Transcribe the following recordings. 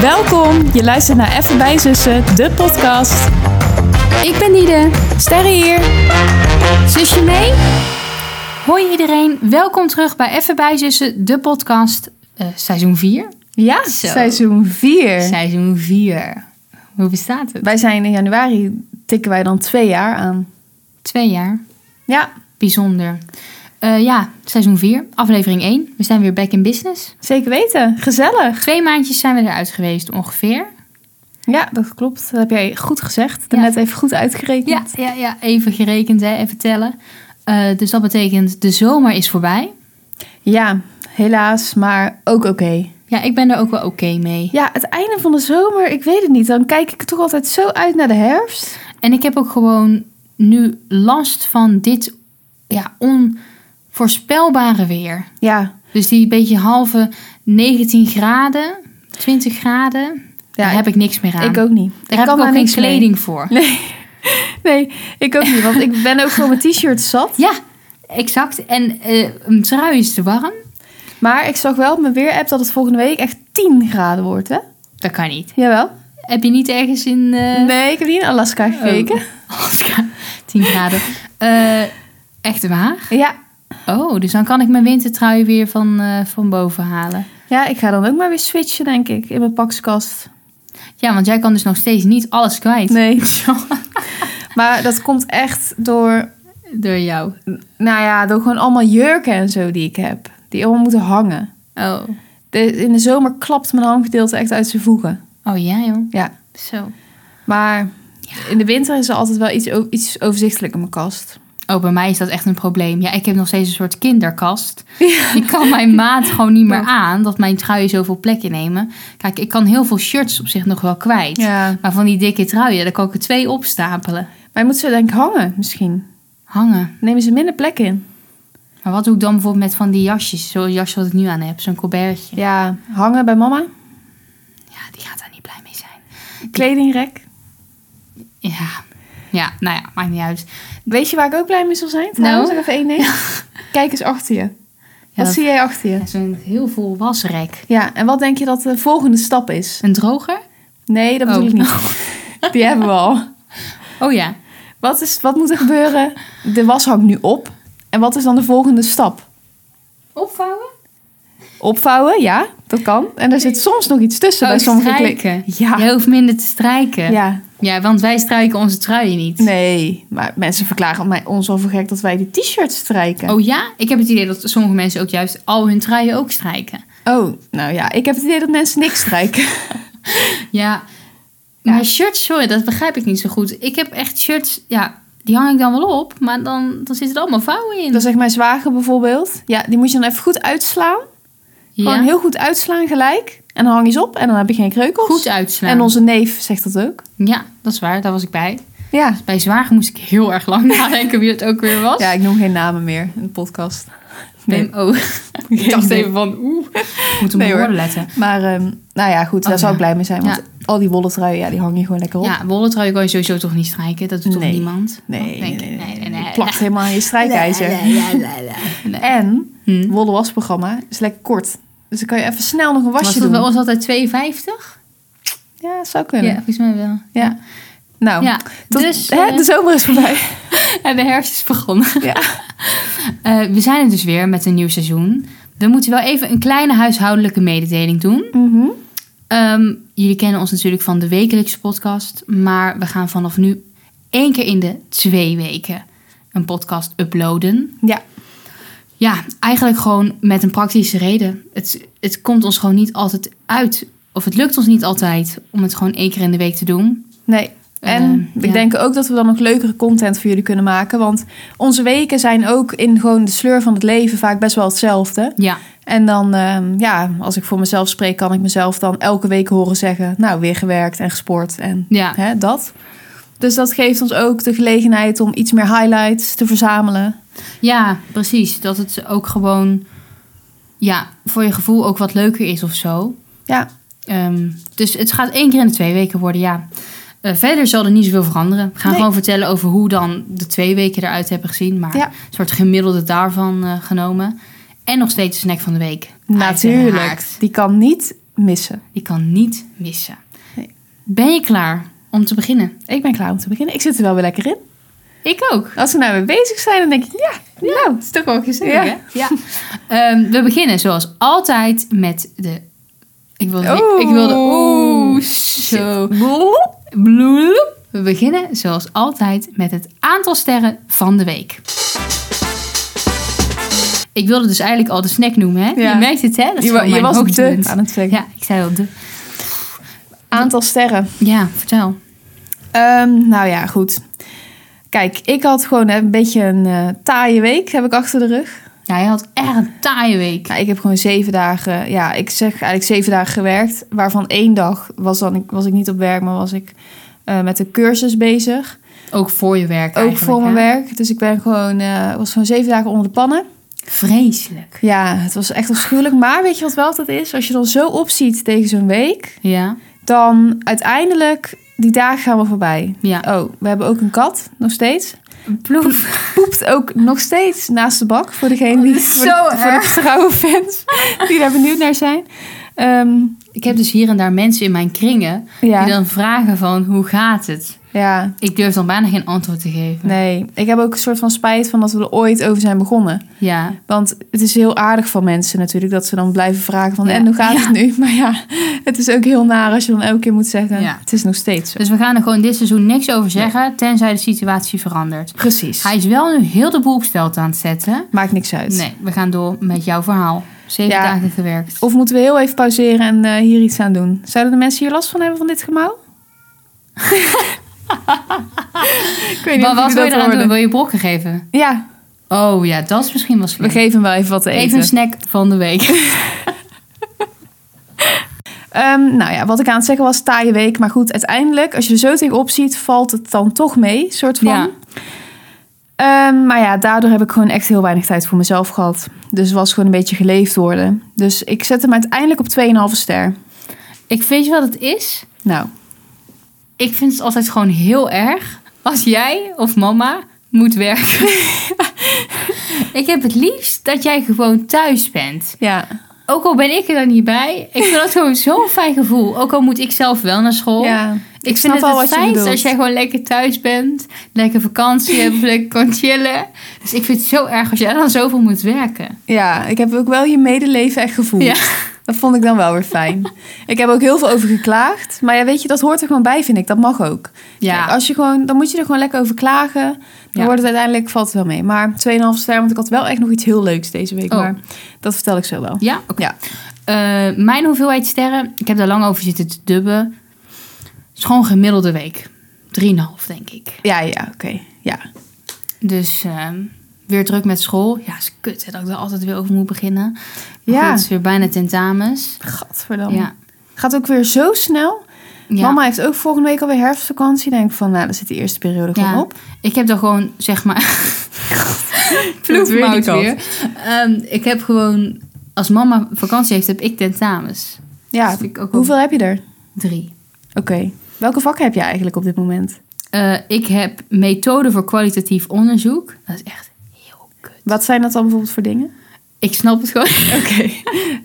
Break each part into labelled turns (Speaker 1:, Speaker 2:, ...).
Speaker 1: Welkom, je luistert naar Even bij Zussen, de podcast.
Speaker 2: Ik ben Nide.
Speaker 1: Sterre hier.
Speaker 2: Zusje mee? Hoi iedereen, welkom terug bij Even bij Zussen, de podcast, eh, seizoen 4.
Speaker 1: Ja,
Speaker 2: Zo.
Speaker 1: seizoen 4.
Speaker 2: Seizoen 4. Hoe bestaat het?
Speaker 1: Wij zijn in januari, tikken wij dan twee jaar aan.
Speaker 2: Twee jaar.
Speaker 1: Ja,
Speaker 2: Bijzonder. Eh, ja, seizoen 4, aflevering 1. We zijn weer back in business.
Speaker 1: zeker weten. Gezellig.
Speaker 2: Twee maandjes zijn we eruit geweest ongeveer.
Speaker 1: Ja, dat klopt. Dat heb jij goed gezegd. Daarnet even goed uitgerekend.
Speaker 2: Ja, ja, ja even gerekend, hè, even tellen. Eh, dus dat betekent de zomer is voorbij.
Speaker 1: Ja, helaas, maar ook oké.
Speaker 2: Ja, ik ben er ook wel oké mee.
Speaker 1: Ja, het einde van de zomer, ik weet het niet. Dan kijk ik toch altijd zo uit naar de herfst.
Speaker 2: En ik heb ook gewoon nu last van dit ja, onvoorspelbare weer.
Speaker 1: Ja,
Speaker 2: Dus die beetje halve 19 graden, 20 graden, daar heb ik niks meer aan.
Speaker 1: ik ook niet.
Speaker 2: daar heb ik ook
Speaker 1: daar
Speaker 2: geen
Speaker 1: niks mee.
Speaker 2: kleding voor.
Speaker 1: Nee, ik ook niet, want ik ben ook gewoon mijn t-shirt zat.
Speaker 2: Ja, exact. En eh, een trui is te warm.
Speaker 1: Maar ik zag wel op mijn weer-app dat het volgende week echt 10 graden wordt, hè?
Speaker 2: Dat kan niet.
Speaker 1: Jawel.
Speaker 2: Heb je niet ergens in... eh, Oh.
Speaker 1: Nee, ik heb niet in Alaska gekeken.
Speaker 2: Alaska, 10 graden. Eh, echt waar?
Speaker 1: Ja.
Speaker 2: Oh, dus dan kan ik mijn wintertrui weer van, eh, van boven halen.
Speaker 1: ja, ik ga dan ook maar weer switchen, denk ik, in mijn pakskast.
Speaker 2: Ja, want jij kan dus nog steeds niet alles kwijt.
Speaker 1: Nee. maar dat komt echt door,
Speaker 2: Door jou.
Speaker 1: nou ja, door gewoon allemaal jurken en zo die ik heb. Die allemaal moeten hangen.
Speaker 2: Oh.
Speaker 1: De, in de zomer klapt mijn hanggedeelte echt uit zijn voegen.
Speaker 2: Oh ja, joh.
Speaker 1: Ja.
Speaker 2: Zo.
Speaker 1: Maar in de winter is er altijd wel iets, o- iets overzichtelijk in mijn kast.
Speaker 2: Oh, bij mij is dat echt een probleem. Ja, ik heb nog steeds een soort kinderkast. Ik kan mijn maat gewoon niet meer aan dat mijn truien zoveel plekken nemen. Kijk, ik kan heel veel shirts op zich nog wel kwijt.
Speaker 1: Ja.
Speaker 2: Maar van die dikke truien, daar kan ik er twee opstapelen.
Speaker 1: Maar je moet ze denk ik hangen misschien.
Speaker 2: Hangen.
Speaker 1: Nemen ze minder plek in.
Speaker 2: Maar wat doe ik dan bijvoorbeeld met van die jasjes? Zo'n jasje wat ik nu aan heb, zo'n colbertje.
Speaker 1: Ja, hangen bij mama.
Speaker 2: Ja, die gaat daar niet blij mee zijn.
Speaker 1: Kledingrek.
Speaker 2: Ja. Ja, nou ja, maakt niet uit.
Speaker 1: Weet je waar ik ook blij mee zal zijn? Trouwens,
Speaker 2: Nou?
Speaker 1: nog even één ding. Kijk eens achter je.
Speaker 2: Ja,
Speaker 1: Wat
Speaker 2: dat-
Speaker 1: zie jij achter je?
Speaker 2: Ja, Zo'n heel vol wasrek.
Speaker 1: Ja, en wat denk je dat de volgende stap is?
Speaker 2: Een droger?
Speaker 1: Nee, dat bedoel
Speaker 2: Oh.
Speaker 1: ik niet. Die hebben we al.
Speaker 2: Oh ja.
Speaker 1: Wat, is, wat moet er gebeuren? De was hangt nu op. En wat is dan de volgende stap?
Speaker 2: Opvouwen?
Speaker 1: Opvouwen, ja, dat kan. En er zit soms nog iets tussen bij sommige
Speaker 2: Oh, strijken.
Speaker 1: klik- Ja.
Speaker 2: Je hoeft minder te strijken. Ja.
Speaker 1: Ah. Ja,
Speaker 2: want wij strijken onze truien niet.
Speaker 1: nee. Maar mensen verklaren mij, ons al voor gek dat wij die t-shirts strijken.
Speaker 2: Oh ja? Ik heb het idee dat sommige mensen ook juist al hun truien ook strijken.
Speaker 1: Oh, nou ja, ik heb het idee dat mensen niks strijken.
Speaker 2: Ja. Maar shirts, sorry, dat begrijp ik niet zo goed. Ik heb echt shirts, ja, die hang ik dan wel op, maar dan, dan zitten er allemaal vouwen in.
Speaker 1: Dan zegt mijn zwager bijvoorbeeld. Ja, die moet je dan even goed uitslaan.
Speaker 2: ja.
Speaker 1: Gewoon heel goed uitslaan gelijk. En dan hang je ze op en dan heb je geen kreukels.
Speaker 2: goed uitslaan.
Speaker 1: En onze neef zegt dat ook.
Speaker 2: Ja, dat is waar, daar was ik bij.
Speaker 1: Ja.
Speaker 2: Bij zwager moest ik heel erg lang nadenken wie het ook weer was.
Speaker 1: Ja, ik noem geen namen meer in de podcast. Nee.
Speaker 2: BMO. ik dacht
Speaker 1: idee.
Speaker 2: even van, oeh, ik moet op
Speaker 1: Nee,
Speaker 2: mijn
Speaker 1: hoor.
Speaker 2: woorden letten.
Speaker 1: Maar ehm, nou ja, goed,
Speaker 2: Oh,
Speaker 1: daar zou
Speaker 2: ja.
Speaker 1: ik blij mee zijn. Want al die wollen truien, ja, die hang je gewoon lekker op.
Speaker 2: Ja, wollen truien kan je sowieso toch niet strijken? Dat doet
Speaker 1: Nee.
Speaker 2: toch niemand?
Speaker 1: Nee,
Speaker 2: Oh, denk
Speaker 1: nee,
Speaker 2: ik.
Speaker 1: nee, nee,
Speaker 2: nee,
Speaker 1: Je plakt helemaal aan je strijkijzer. En het
Speaker 2: Hm.
Speaker 1: wollen wasprogramma is lekker kort. Dus dan kan je even snel nog een
Speaker 2: Was
Speaker 1: wasje
Speaker 2: dat
Speaker 1: doen.
Speaker 2: was altijd 2,50?
Speaker 1: Ja, zou
Speaker 2: Ja,
Speaker 1: kunnen. Ja.
Speaker 2: volgens mij wel.
Speaker 1: Nou,
Speaker 2: Ja,
Speaker 1: tot-
Speaker 2: dus,
Speaker 1: hè,
Speaker 2: eh,
Speaker 1: de zomer is voorbij.
Speaker 2: En de herfst is begonnen.
Speaker 1: Ja.
Speaker 2: Eh, we zijn er dus weer met een nieuw seizoen. We moeten wel even een kleine huishoudelijke mededeling doen.
Speaker 1: Mhm.
Speaker 2: Ehm, jullie kennen ons natuurlijk van de wekelijkse podcast. Maar we gaan vanaf nu één keer in de twee weken een podcast uploaden.
Speaker 1: Ja,
Speaker 2: Ja, eigenlijk gewoon met een praktische reden. Het, het komt ons gewoon niet altijd uit. Of het lukt ons niet altijd om het gewoon één keer in de week te doen.
Speaker 1: nee. En ehm,
Speaker 2: Eh,
Speaker 1: ik
Speaker 2: ja.
Speaker 1: denk ook dat we dan nog leukere content voor jullie kunnen maken. Want onze weken zijn ook in gewoon de sleur van het leven vaak best wel hetzelfde.
Speaker 2: Ja,
Speaker 1: En dan, ehm, ja, als ik voor mezelf spreek, kan ik mezelf dan elke week horen zeggen... nou, weer gewerkt en gesport en
Speaker 2: ja.
Speaker 1: hè, dat. Dus dat geeft ons ook de gelegenheid om iets meer highlights te verzamelen.
Speaker 2: ja, precies. Dat het ook gewoon ja, voor je gevoel ook wat leuker is of zo.
Speaker 1: Ja,
Speaker 2: Ehm, dus het gaat één keer in de twee weken worden, ja. Eh, verder zal er niet zoveel veranderen. We gaan
Speaker 1: Nee.
Speaker 2: gewoon vertellen over hoe dan de twee weken eruit hebben gezien. Maar
Speaker 1: Ja.
Speaker 2: een soort gemiddelde daarvan eh, genomen. En nog steeds de snack van de week.
Speaker 1: natuurlijk.
Speaker 2: Uiteraard.
Speaker 1: Die kan niet missen.
Speaker 2: Je kan niet missen.
Speaker 1: Nee.
Speaker 2: Ben je klaar om te beginnen?
Speaker 1: Ik ben klaar om te beginnen. Ik zit er wel weer lekker in.
Speaker 2: Ik ook.
Speaker 1: Als we nou weer bezig zijn, dan denk ik, ja, nou,
Speaker 2: is toch wel gezellig,
Speaker 1: Ja.
Speaker 2: hè? Ja. Ehm, we beginnen zoals altijd met de... Ik wilde...
Speaker 1: Oeh.
Speaker 2: ik wilde
Speaker 1: Oh,
Speaker 2: oeh, zo. Bloep. We beginnen zoals altijd met het aantal sterren van de week. Ik wilde dus eigenlijk al de snack noemen, hè?
Speaker 1: Ja.
Speaker 2: Je merkt het, hè? Dat is
Speaker 1: je, wa-
Speaker 2: gewoon
Speaker 1: je
Speaker 2: mijn
Speaker 1: was de Ah,
Speaker 2: hoogtepunt.
Speaker 1: aan het zeggen.
Speaker 2: Ja, ik zei al de...
Speaker 1: Aantal sterren.
Speaker 2: Ja, vertel.
Speaker 1: Ehm, nou ja, goed. Kijk, ik had gewoon een beetje een eh, taaie week, heb ik achter de rug.
Speaker 2: Ja, je had echt een taaie week.
Speaker 1: Nou, ik heb gewoon zeven dagen, ja, ik zeg eigenlijk zeven dagen gewerkt. Waarvan één dag was, dan, ik- was ik niet op werk, maar was ik eh, met de cursus bezig.
Speaker 2: Ook voor je werk
Speaker 1: Ook
Speaker 2: eigenlijk,
Speaker 1: voor mijn
Speaker 2: hè?
Speaker 1: werk. Dus ik ben gewoon, eh, was gewoon zeven dagen onder de pannen.
Speaker 2: Vreselijk.
Speaker 1: Ja, het was echt afschuwelijk. Maar weet je wat wel dat is? Als je dan zo opziet tegen zo'n week,
Speaker 2: Ja,
Speaker 1: dan uiteindelijk, die dagen gaan we voorbij.
Speaker 2: ja.
Speaker 1: Oh, we hebben ook een kat, nog steeds.
Speaker 2: Ploef.
Speaker 1: Poept ook nog steeds naast de bak, voor degene die
Speaker 2: Oh, dat is
Speaker 1: voor, de-
Speaker 2: zo
Speaker 1: voor de trouwe fans die daar benieuwd naar zijn. Ehm,
Speaker 2: Ik heb dus hier en daar mensen in mijn kringen
Speaker 1: ja,
Speaker 2: die dan vragen van hoe gaat het?
Speaker 1: ja,
Speaker 2: Ik durf dan bijna geen antwoord te geven.
Speaker 1: nee. Ik heb ook een soort van spijt van dat we er ooit over zijn begonnen.
Speaker 2: Ja.
Speaker 1: Want het is heel aardig van mensen natuurlijk dat ze dan blijven vragen van
Speaker 2: Ja.
Speaker 1: en hoe gaat
Speaker 2: Ja.
Speaker 1: het nu? Maar ja, het is ook heel naar als je dan elke keer moet zeggen,
Speaker 2: Ja.
Speaker 1: het is nog steeds zo.
Speaker 2: Dus we gaan er gewoon dit seizoen niks over zeggen, tenzij de situatie verandert.
Speaker 1: Precies.
Speaker 2: Hij is wel nu heel de boel op stelte aan het zetten.
Speaker 1: Maakt niks uit.
Speaker 2: Nee, we gaan door met jouw verhaal. Zeven
Speaker 1: Ja.
Speaker 2: dagen gewerkt.
Speaker 1: Of moeten we heel even pauzeren en eh, hier iets aan doen? Zouden de mensen hier last van hebben van dit gemouw? ik weet
Speaker 2: maar wat wil je eraan
Speaker 1: aan
Speaker 2: doen? Wil je brokken geven?
Speaker 1: Ja,
Speaker 2: Oh ja, dat is misschien wel slim.
Speaker 1: we geven hem wel even wat te eten.
Speaker 2: Even een snack van de week.
Speaker 1: Ehm, nou ja, wat ik aan het zeggen was, taaie week. Maar goed, uiteindelijk, als je er zo tegenop ziet, valt het dan toch mee, soort van.
Speaker 2: Ja.
Speaker 1: Ehm, maar ja, daardoor heb ik gewoon echt heel weinig tijd voor mezelf gehad. Dus het was gewoon een beetje geleefd worden. Dus ik zet hem uiteindelijk op 2,5 ster.
Speaker 2: Ik weet je wat het is?
Speaker 1: Nou,
Speaker 2: Ik vind het altijd gewoon heel erg als jij of mama moet werken. ik heb het liefst dat jij gewoon thuis bent.
Speaker 1: ja.
Speaker 2: Ook al ben ik er dan niet bij. Ik vind dat gewoon zo'n fijn gevoel. Ook al moet ik zelf wel naar school.
Speaker 1: ja.
Speaker 2: ik, vind het
Speaker 1: al
Speaker 2: het
Speaker 1: wat je
Speaker 2: fijnst
Speaker 1: bedoelt.
Speaker 2: als jij gewoon lekker thuis bent. Lekker vakantie hebt. lekker kan chillen. Dus ik vind het zo erg als jij dan zoveel moet werken.
Speaker 1: Ja, ik heb ook wel je medeleven echt gevoeld.
Speaker 2: Ja.
Speaker 1: Dat vond ik dan wel weer fijn. ik heb ook heel veel over geklaagd. Maar ja, weet je, dat hoort er gewoon bij, vind ik. Dat mag ook. Kijk, als je gewoon, dan moet je er gewoon lekker over klagen. Dan
Speaker 2: Ja.
Speaker 1: wordt het uiteindelijk, valt het wel mee. Maar 2,5 ster, want ik had wel echt nog iets heel leuks deze week.
Speaker 2: Oh.
Speaker 1: Maar dat vertel ik zo wel.
Speaker 2: Ja? Oké.
Speaker 1: Ja.
Speaker 2: Eh, mijn hoeveelheid sterren, ik heb daar lang over zitten te dubben. Het is gewoon gemiddelde week. 3,5 denk ik.
Speaker 1: Ja, ja, oké. Ja.
Speaker 2: Dus ehm, weer druk met school. Ja, is kut hè, dat ik daar altijd weer over moet beginnen. Maar
Speaker 1: Ja.
Speaker 2: goed, het is weer bijna tentamens.
Speaker 1: Gadverdamme.
Speaker 2: Ja.
Speaker 1: Gaat ook weer zo snel.
Speaker 2: ja.
Speaker 1: Mama heeft ook volgende week alweer herfstvakantie. Denk ik van, nou, dan zit die eerste periode gewoon
Speaker 2: Ja.
Speaker 1: op.
Speaker 2: Ik heb daar gewoon, zeg maar... Vloekmout
Speaker 1: weer die
Speaker 2: weer. Ehm, ik heb gewoon... Als mama vakantie heeft, heb ik tentamens.
Speaker 1: Ja.
Speaker 2: Dat vind ik ook wel-
Speaker 1: Hoeveel heb je er?
Speaker 2: Drie.
Speaker 1: Oké. Welke vakken heb je eigenlijk op dit moment?
Speaker 2: Eh, ik heb methode voor kwalitatief onderzoek. Dat is echt heel kut.
Speaker 1: Wat zijn dat dan bijvoorbeeld voor dingen?
Speaker 2: Ik snap het gewoon.
Speaker 1: Oké.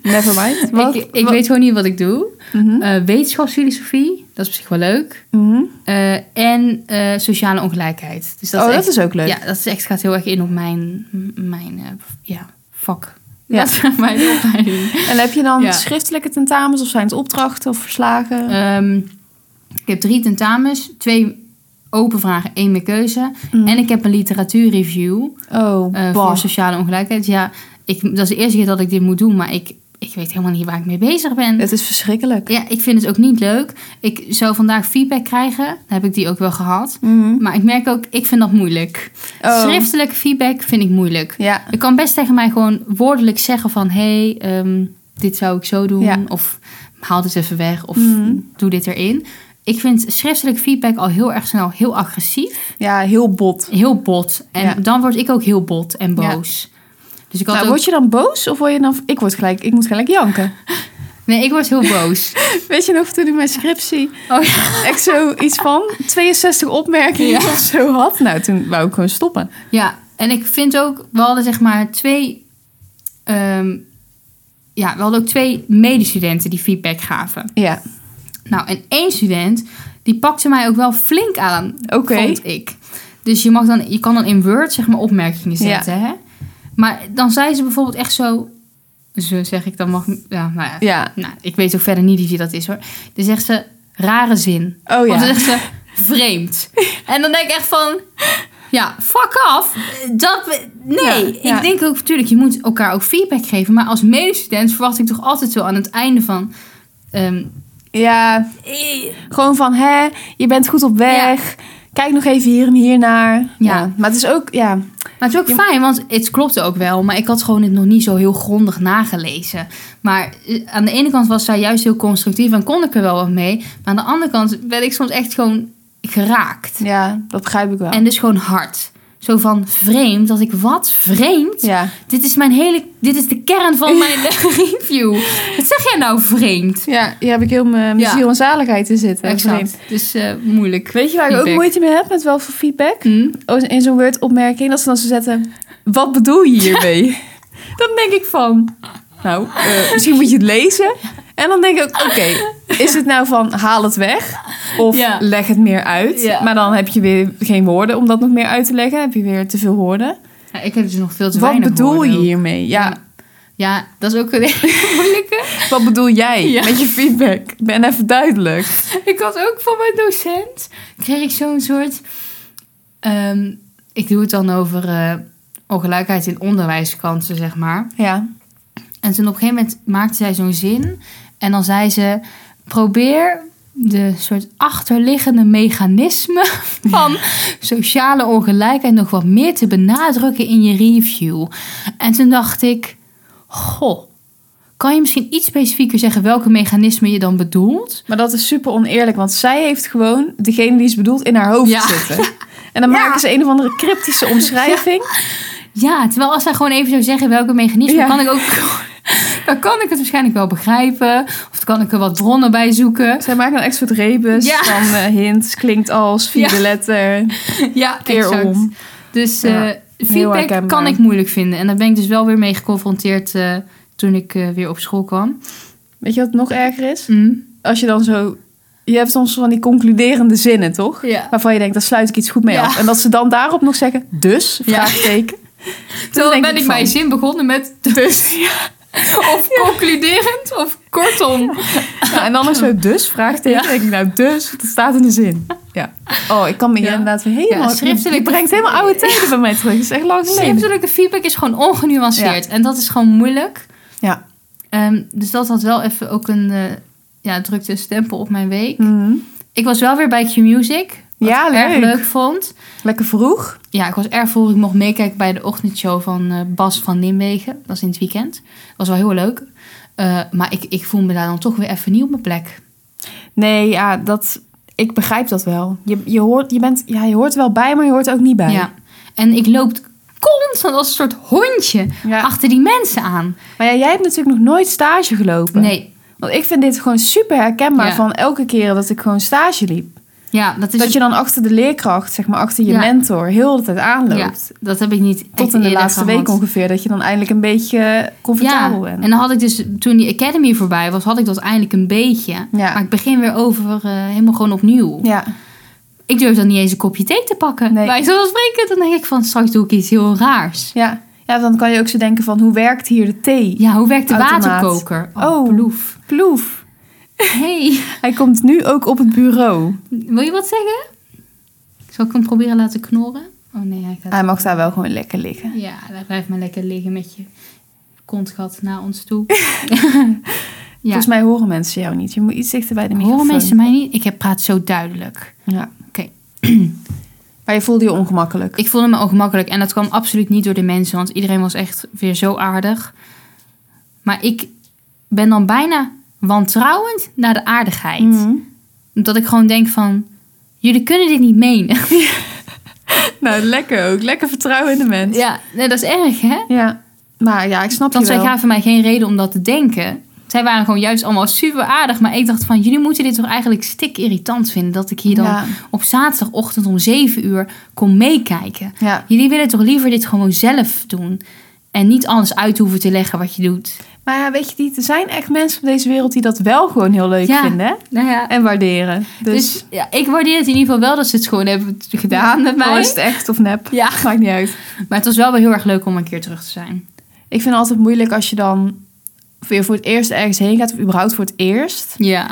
Speaker 1: Never mind. Wat-
Speaker 2: ik ik
Speaker 1: wat-
Speaker 2: weet gewoon niet wat ik doe.
Speaker 1: Mhm.
Speaker 2: Eh, wetenschapsfilosofie, dat is op zich wel leuk.
Speaker 1: Mhm.
Speaker 2: Eh, en eh, sociale ongelijkheid. Dus dat
Speaker 1: oh,
Speaker 2: is
Speaker 1: dat
Speaker 2: echt,
Speaker 1: is ook leuk.
Speaker 2: Ja, dat is echt, gaat heel erg in op mijn, m- mijn eh, ja, vak.
Speaker 1: Ja.
Speaker 2: Ja. Dat is mijn opleiding.
Speaker 1: En heb je dan
Speaker 2: Ja.
Speaker 1: schriftelijke tentamens of zijn het opdrachten of verslagen?
Speaker 2: Ehm, ik heb drie tentamens, twee open vragen, één meer keuze.
Speaker 1: Mhm.
Speaker 2: En ik heb een literatuurreview
Speaker 1: oh,
Speaker 2: eh,
Speaker 1: bah.
Speaker 2: voor sociale ongelijkheid. Ja, ik, dat is de eerste keer dat ik dit moet doen, maar ik, ik weet helemaal niet waar ik mee bezig ben.
Speaker 1: Het is verschrikkelijk.
Speaker 2: Ja, ik vind het ook niet leuk. Ik zou vandaag feedback krijgen. Dan heb ik die ook wel gehad.
Speaker 1: Mhm.
Speaker 2: Maar ik merk ook, ik vind dat moeilijk.
Speaker 1: Oh.
Speaker 2: Schriftelijke feedback vind ik moeilijk.
Speaker 1: Ja.
Speaker 2: Je kan best tegen mij gewoon woordelijk zeggen van... hé, hey, ehm, dit zou ik zo doen.
Speaker 1: Ja.
Speaker 2: Of haal dit even weg. Of
Speaker 1: Mhm.
Speaker 2: doe dit erin. Ik vind schriftelijk feedback al heel erg snel heel agressief.
Speaker 1: ja, heel bot.
Speaker 2: Heel bot. En
Speaker 1: Ja.
Speaker 2: dan word ik ook heel bot en boos. Dus ik had
Speaker 1: Nou,
Speaker 2: ook...
Speaker 1: word je dan boos of word je dan... Ik, word gelijk, ik moet gelijk janken.
Speaker 2: Nee, ik word heel boos.
Speaker 1: Weet je nog toen ik mijn scriptie
Speaker 2: oh ja.
Speaker 1: echt zo iets van 62 opmerkingen
Speaker 2: Ja.
Speaker 1: of zo had? Nou, toen wou ik gewoon stoppen.
Speaker 2: Ja, en ik vind ook, we hadden zeg maar twee ehm, ja, we hadden ook twee medestudenten die feedback gaven.
Speaker 1: Ja.
Speaker 2: Nou, en één student, die pakte mij ook wel flink aan,
Speaker 1: Oké.
Speaker 2: vond ik. Dus je, mag dan, je kan dan in Word, zeg maar, opmerkingen zetten, hè? Maar dan zei ze bijvoorbeeld echt zo... Zo zeg ik, dan mag... Ja, nou ja.
Speaker 1: Ja.
Speaker 2: Nou, ik weet ook verder niet wie dat is, hoor. Dan zegt ze, rare zin.
Speaker 1: Oh
Speaker 2: Of
Speaker 1: ja.
Speaker 2: dan zegt ze, vreemd. en dan denk ik echt van... Ja, fuck af. Dat, nee,
Speaker 1: Ja, ja.
Speaker 2: ik denk ook natuurlijk, je moet elkaar ook feedback geven. Maar als medestudent verwacht ik toch altijd wel aan het einde van... ehm,
Speaker 1: Ja,
Speaker 2: eh,
Speaker 1: gewoon van, hè, je bent goed op weg. Kijk nog even hier en hier naar. Ja. Maar het is ook, ja.
Speaker 2: Maar het is ook fijn, want het klopte ook wel. Maar ik had gewoon het nog niet zo heel grondig nagelezen. Maar eh, aan de ene kant was zij juist heel constructief en kon ik er wel wat mee. Maar aan de andere kant werd ik soms echt gewoon geraakt.
Speaker 1: Ja, dat begrijp ik wel.
Speaker 2: En dus gewoon hard. Zo van vreemd, dat ik wat vreemd?
Speaker 1: ja.
Speaker 2: Dit is mijn hele, dit is de kern van mijn review. Wat zeg jij nou vreemd?
Speaker 1: ja, hier heb ik heel mijn mijn
Speaker 2: Ja.
Speaker 1: ziel en zaligheid in zitten. Vreemd.
Speaker 2: Exact. Dus eh, moeilijk.
Speaker 1: Weet je waar ik ook
Speaker 2: Feedback.
Speaker 1: moeite mee heb met wel veel feedback?
Speaker 2: Hm?
Speaker 1: Oh, In zo'n Word-opmerking, dat ze dan zo zetten... Wat bedoel je hiermee? dan denk ik van... Nou, eh, misschien moet je het lezen. En dan denk ik, oké, is het nou van haal het weg? Of
Speaker 2: Ja.
Speaker 1: leg het meer uit?
Speaker 2: Ja.
Speaker 1: Maar dan heb je weer geen woorden om dat nog meer uit te leggen. heb je weer te veel woorden.
Speaker 2: Ja, ik heb dus nog veel te
Speaker 1: Wat
Speaker 2: weinig
Speaker 1: bedoel je
Speaker 2: woorden.
Speaker 1: hiermee? Ja,
Speaker 2: Ja, dat is ook een hele moeilijke.
Speaker 1: wat bedoel jij
Speaker 2: Ja.
Speaker 1: met je feedback? Ik Ben even duidelijk.
Speaker 2: Ik had ook van mijn docent, kreeg ik zo'n soort... ehm, ik doe het dan over eh, ongelijkheid in onderwijskansen, zeg maar.
Speaker 1: Ja.
Speaker 2: En toen op een gegeven moment maakte zij zo'n zin. En dan zei ze, probeer de soort achterliggende mechanismen van sociale ongelijkheid nog wat meer te benadrukken in je review. En toen dacht ik, goh, kan je misschien iets specifieker zeggen welke mechanismen je dan bedoelt?
Speaker 1: Maar dat is super oneerlijk, want zij heeft gewoon degene die ze bedoelt in haar hoofd
Speaker 2: Ja.
Speaker 1: zitten. En dan
Speaker 2: Ja.
Speaker 1: maken ze een of andere cryptische omschrijving.
Speaker 2: Ja, terwijl als zij gewoon even zou zeggen welke mechanismen,
Speaker 1: Ja.
Speaker 2: kan ik ook. Dan kan ik het waarschijnlijk wel begrijpen. Of dan kan ik er wat bronnen bij zoeken.
Speaker 1: Zij maken dan echt soort rebus
Speaker 2: Ja.
Speaker 1: van eh, hints, klinkt als, vierde
Speaker 2: Ja.
Speaker 1: letter,
Speaker 2: Ja,
Speaker 1: keer
Speaker 2: exact.
Speaker 1: om.
Speaker 2: Dus
Speaker 1: Ja,
Speaker 2: eh, feedback
Speaker 1: herkenbaar.
Speaker 2: kan ik moeilijk vinden. En daar ben ik dus wel weer mee geconfronteerd eh, toen ik eh, weer op school kwam.
Speaker 1: Weet je wat nog erger is?
Speaker 2: Mm.
Speaker 1: Als je dan zo... Je hebt soms van die concluderende zinnen, toch?
Speaker 2: Ja.
Speaker 1: Waarvan je denkt, daar sluit ik iets goed mee
Speaker 2: Ja.
Speaker 1: af. En dat ze dan daarop nog zeggen, dus?
Speaker 2: Ja.
Speaker 1: Vraagteken.
Speaker 2: Toen
Speaker 1: denk
Speaker 2: ben
Speaker 1: ik
Speaker 2: ik
Speaker 1: van-
Speaker 2: mijn zin begonnen met dus. Of concluderend of kortom.
Speaker 1: Ja, en dan nog zo, dus? Vraagteken.
Speaker 2: Ja.
Speaker 1: Denk ik, nou, dus? Dat staat in de zin. Ja. Oh, ik kan me hier
Speaker 2: Ja.
Speaker 1: inderdaad weer helemaal...
Speaker 2: Ja, schriftelijk-
Speaker 1: Je brengt helemaal oude tijden bij mij terug. Dat is echt lang geleden.
Speaker 2: Schriftelijke feedback is gewoon ongenuanceerd. En dat is gewoon moeilijk.
Speaker 1: Ja.
Speaker 2: Ehm, dus dat had wel even ook een eh, ja, drukte stempel op mijn week.
Speaker 1: Mhm.
Speaker 2: Ik was wel weer bij Q-Music. Wat
Speaker 1: Ja,
Speaker 2: ik erg
Speaker 1: leuk.
Speaker 2: leuk vond.
Speaker 1: Lekker vroeg.
Speaker 2: Ja, ik was erg vroeg. Ik mocht meekijken bij de ochtendshow van eh, Bas van Nimwegen. Dat was in het weekend. Dat was wel heel leuk. Eh, maar ik, ik voel me daar dan toch weer even niet op mijn plek.
Speaker 1: Nee, ja, dat... Ik begrijp dat wel. Je, je, hoort, je, bent, ja, je hoort wel bij, maar je hoort ook niet bij.
Speaker 2: Ja. En ik loop constant als een soort hondje
Speaker 1: Ja.
Speaker 2: achter die mensen aan.
Speaker 1: Maar ja, jij hebt natuurlijk nog nooit stage gelopen.
Speaker 2: Nee.
Speaker 1: Want ik vind dit gewoon super herkenbaar
Speaker 2: Ja.
Speaker 1: van elke keer dat ik gewoon stage liep.
Speaker 2: Ja, dat is
Speaker 1: dat Dus je dan achter de leerkracht, zeg maar achter je
Speaker 2: Ja.
Speaker 1: mentor, heel de tijd
Speaker 2: ja,
Speaker 1: aanloopt.
Speaker 2: dat heb ik niet
Speaker 1: Tot
Speaker 2: echt
Speaker 1: in de
Speaker 2: eerder
Speaker 1: laatste
Speaker 2: gehad.
Speaker 1: week ongeveer, dat je dan eindelijk een beetje eh, comfortabel bent.
Speaker 2: En dan had ik dus, toen die Academy voorbij was, had ik dat eindelijk een beetje. Maar ik begin weer over eh, helemaal gewoon opnieuw.
Speaker 1: ja.
Speaker 2: Ik durf dan niet eens een kopje thee te pakken.
Speaker 1: Nee.
Speaker 2: Bij zo'n spreken, dan denk ik van straks doe ik iets heel raars.
Speaker 1: Ja. ja, dan kan je ook zo denken van, hoe werkt hier de thee?
Speaker 2: Ja, hoe werkt de
Speaker 1: Automaat.
Speaker 2: waterkoker?
Speaker 1: Oh.
Speaker 2: ploef.
Speaker 1: Ploef.
Speaker 2: Hey,
Speaker 1: Hij komt nu ook op het bureau.
Speaker 2: wil je wat zeggen? Zal ik hem proberen laten knorren? Oh nee, hij gaat...
Speaker 1: Hij mag daar wel gewoon lekker liggen.
Speaker 2: Ja, hij blijft maar lekker liggen met je kontgat naar ons toe. ja,
Speaker 1: Volgens mij horen mensen jou niet. Je moet iets dichter bij de microfoon.
Speaker 2: horen mensen mij niet? Ik heb praat zo duidelijk.
Speaker 1: Ja.
Speaker 2: Oké.
Speaker 1: maar je voelde je ongemakkelijk.
Speaker 2: Ik voelde me ongemakkelijk en dat kwam absoluut niet door de mensen, want iedereen was echt weer zo aardig. Maar ik ben dan bijna wantrouwend naar de aardigheid.
Speaker 1: Mhm.
Speaker 2: Omdat ik gewoon denk van, jullie kunnen dit niet menen.
Speaker 1: Nou, lekker ook. Lekker vertrouwen in de mens.
Speaker 2: Ja, nee, dat is erg hè?
Speaker 1: Ja, maar ja, ik snap
Speaker 2: Want
Speaker 1: je
Speaker 2: zij
Speaker 1: wel.
Speaker 2: gaven mij geen reden om dat te denken. Zij waren gewoon juist allemaal super aardig. Maar ik dacht van, jullie moeten dit toch eigenlijk stik irritant vinden. Dat ik hier dan
Speaker 1: Ja.
Speaker 2: op zaterdagochtend om 7 uur kon meekijken.
Speaker 1: Ja,
Speaker 2: Jullie willen toch liever dit gewoon zelf doen. En niet alles uit hoeven te leggen wat je doet.
Speaker 1: maar Maar ja, weet je niet, er zijn echt mensen op deze wereld die dat wel gewoon heel leuk
Speaker 2: Ja.
Speaker 1: vinden. hè?
Speaker 2: Nou ja,
Speaker 1: En waarderen.
Speaker 2: dus,
Speaker 1: Dus,
Speaker 2: ja, ik waardeer het in ieder geval wel dat ze het gewoon hebben gedaan met
Speaker 1: al
Speaker 2: mij.
Speaker 1: is het echt of nep,
Speaker 2: Ja,
Speaker 1: maakt niet uit.
Speaker 2: maar het was wel weer heel erg leuk om een keer terug te zijn.
Speaker 1: Ik vind het altijd moeilijk als je dan weer voor het eerst ergens heen gaat, of überhaupt voor het eerst.
Speaker 2: Ja.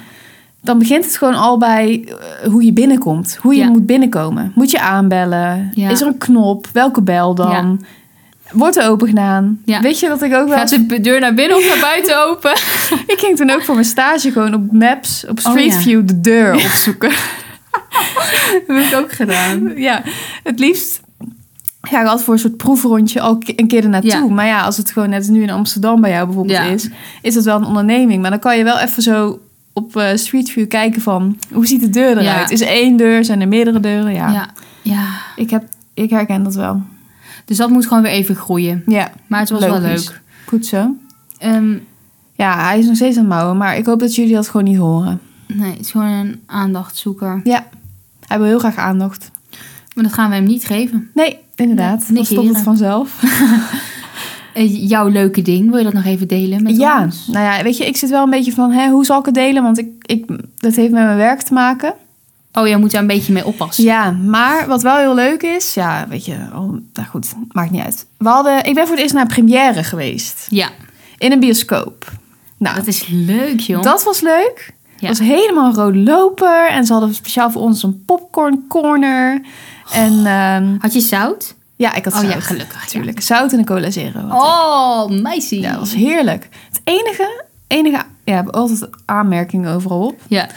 Speaker 1: Dan begint het gewoon al bij eh, hoe je binnenkomt. Hoe je
Speaker 2: Ja.
Speaker 1: moet binnenkomen. Moet je aanbellen?
Speaker 2: Ja.
Speaker 1: Is er een knop? Welke bel dan? Wordt er open gedaan?
Speaker 2: Ja.
Speaker 1: Weet je dat ik ook wel...
Speaker 2: Gaat de deur naar binnen of naar buiten open?
Speaker 1: Ik ging toen ook voor mijn stage gewoon op Maps, op
Speaker 2: Oh,
Speaker 1: Street
Speaker 2: ja.
Speaker 1: View, de deur opzoeken.
Speaker 2: Dat heb ik ook gedaan.
Speaker 1: ja, het liefst ga ik altijd voor een soort proefrondje al ke- een keer ernaartoe.
Speaker 2: Ja.
Speaker 1: Maar ja, als het gewoon net als nu in Amsterdam bij jou bijvoorbeeld
Speaker 2: Ja.
Speaker 1: is, is dat wel een onderneming. Maar dan kan je wel even zo op eh Street View kijken van, hoe ziet de deur eruit?
Speaker 2: Ja.
Speaker 1: Is er één deur? Zijn er meerdere deuren? Ja,
Speaker 2: Ja. ja.
Speaker 1: Ik, heb, ik herken dat wel.
Speaker 2: Dus dat moet gewoon weer even groeien.
Speaker 1: Ja,
Speaker 2: Maar het was wel
Speaker 1: Logisch.
Speaker 2: leuk.
Speaker 1: goed zo.
Speaker 2: Ehm,
Speaker 1: Ja, hij is nog steeds aan het mouwen, maar ik hoop dat jullie dat gewoon niet horen.
Speaker 2: nee, het is gewoon een aandachtzoeker.
Speaker 1: Ja, hij wil heel graag aandacht.
Speaker 2: Maar dat gaan we hem niet geven.
Speaker 1: Nee, inderdaad.
Speaker 2: Nee,
Speaker 1: dan stopt het
Speaker 2: negeren.
Speaker 1: vanzelf.
Speaker 2: Eh, jouw leuke ding, wil je dat nog even delen met
Speaker 1: ja,
Speaker 2: ons?
Speaker 1: nou ja, weet je, ik zit wel een beetje van, hè, hoe zal ik het delen? Want ik, ik, dat heeft met mijn werk te maken.
Speaker 2: Oh, jij moet daar een beetje mee oppassen.
Speaker 1: Ja, maar wat wel heel leuk is, ja, weet je, oh, nou goed, maakt niet uit. We hadden, ik ben voor het eerst naar een première geweest
Speaker 2: Ja,
Speaker 1: in een bioscoop. Nou,
Speaker 2: dat is leuk, joh.
Speaker 1: dat was leuk. Het
Speaker 2: Ja.
Speaker 1: was helemaal een rode loper en ze hadden speciaal voor ons een popcorn corner. En ehm,
Speaker 2: Had je zout?
Speaker 1: ja, ik had
Speaker 2: Oh
Speaker 1: zout.
Speaker 2: ja, gelukkig, ja.
Speaker 1: Natuurlijk, zout en een cola zero. had ik.
Speaker 2: Oh, meisje.
Speaker 1: Ja, dat was heerlijk. Het enige, enige, ja, altijd aanmerkingen overal op.
Speaker 2: Ja.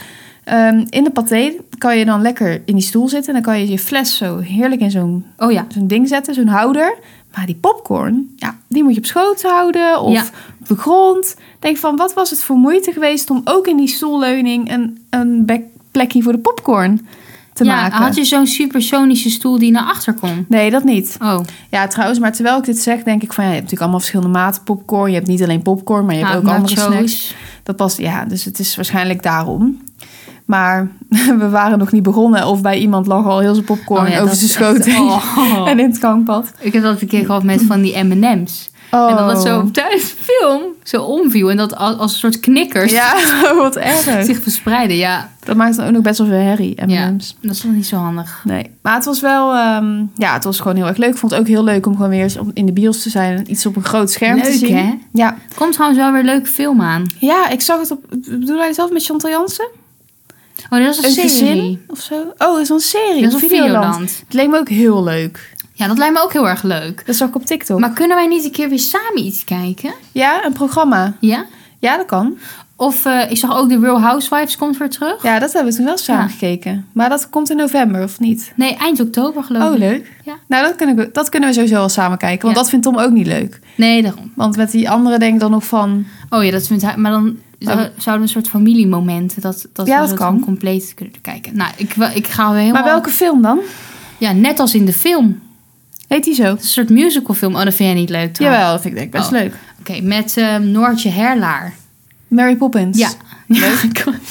Speaker 1: Ehm, in de paté kan je dan lekker in die stoel zitten. En dan kan je je fles zo heerlijk in zo'n
Speaker 2: Oh ja.
Speaker 1: zo'n ding zetten, zo'n houder. Maar die popcorn, ja, die moet je op schoot houden of
Speaker 2: Ja.
Speaker 1: op de grond. Denk van, wat was het voor moeite geweest om ook in die stoelleuning een, een bek- plekje voor de popcorn te
Speaker 2: ja,
Speaker 1: maken?
Speaker 2: had je zo'n supersonische stoel die naar achter kon?
Speaker 1: Nee, dat niet.
Speaker 2: Oh,
Speaker 1: Ja, trouwens, maar terwijl ik dit zeg, denk ik van... Ja, je hebt natuurlijk allemaal verschillende maten popcorn. Je hebt niet alleen popcorn, maar je hebt
Speaker 2: nou,
Speaker 1: ook andere
Speaker 2: nachos.
Speaker 1: snacks. Dat past, ja, dus het is waarschijnlijk daarom. Maar we waren nog niet begonnen of bij iemand lag al heel zijn popcorn
Speaker 2: Oh ja,
Speaker 1: over
Speaker 2: dat
Speaker 1: zijn
Speaker 2: is echt-
Speaker 1: schoot heen
Speaker 2: oh.
Speaker 1: en in het gangpad.
Speaker 2: Ik heb dat een keer gehad met van die M&M's.
Speaker 1: Oh.
Speaker 2: En dat dat zo tijdens de film zo omviel. En dat als, als een soort knikkers
Speaker 1: Ja, wat erg.
Speaker 2: zich verspreiden. Ja,
Speaker 1: Dat maakt dan ook nog best wel veel herrie,
Speaker 2: ja,
Speaker 1: M&M's.
Speaker 2: dat is wel niet zo handig.
Speaker 1: Nee, maar het was wel, ehm, ja, het was gewoon heel erg leuk. Ik vond het ook heel leuk om gewoon weer eens om in de bios te zijn en iets op een groot scherm te
Speaker 2: Leuk,
Speaker 1: zien.
Speaker 2: hè?
Speaker 1: Ja.
Speaker 2: Er komt trouwens wel weer een leuke film aan.
Speaker 1: ja, ik zag het op, bedoel jij zelf met Chantal Jansen?
Speaker 2: Oh, dat is een,
Speaker 1: Een
Speaker 2: serie.
Speaker 1: gezin of zo? Oh, het is een serie
Speaker 2: Dat is
Speaker 1: op
Speaker 2: op
Speaker 1: Videoland.
Speaker 2: Videoland.
Speaker 1: Het leek me ook heel leuk.
Speaker 2: Ja, dat lijkt me ook heel erg leuk.
Speaker 1: Dat zag ik op TikTok.
Speaker 2: Maar kunnen wij niet een keer weer samen iets kijken?
Speaker 1: Ja, een programma.
Speaker 2: Ja?
Speaker 1: Ja, dat kan.
Speaker 2: Of eh, ik zag ook The Real Housewives komt weer terug.
Speaker 1: Ja, dat hebben we toen wel samen gekeken. Maar dat komt in november, of niet?
Speaker 2: Nee, eind oktober geloof ik.
Speaker 1: Oh, leuk.
Speaker 2: Ja.
Speaker 1: Nou, dat kunnen, we, dat kunnen we sowieso wel samen kijken. Want
Speaker 2: Ja.
Speaker 1: dat vindt Tom ook niet leuk.
Speaker 2: Nee, daarom.
Speaker 1: Want met die andere denk ik dan nog van...
Speaker 2: Oh ja, dat vindt hij... Maar dan zou-
Speaker 1: Oh.
Speaker 2: zouden we een soort familiemoment... Dat, dat
Speaker 1: Ja,
Speaker 2: we
Speaker 1: dat
Speaker 2: dan
Speaker 1: kan.
Speaker 2: compleet kunnen kijken. Nou, ik, wel- ik ga weer helemaal...
Speaker 1: Maar welke film dan?
Speaker 2: Ja, net als in de film.
Speaker 1: Heet die zo?
Speaker 2: Een soort musicalfilm. Oh, dat vind jij niet leuk trouwens.
Speaker 1: Jawel, dat vind ik denk best
Speaker 2: Oh.
Speaker 1: leuk.
Speaker 2: Oké, met ehm, Noortje Herlaar.
Speaker 1: Mary Poppins.
Speaker 2: Ja.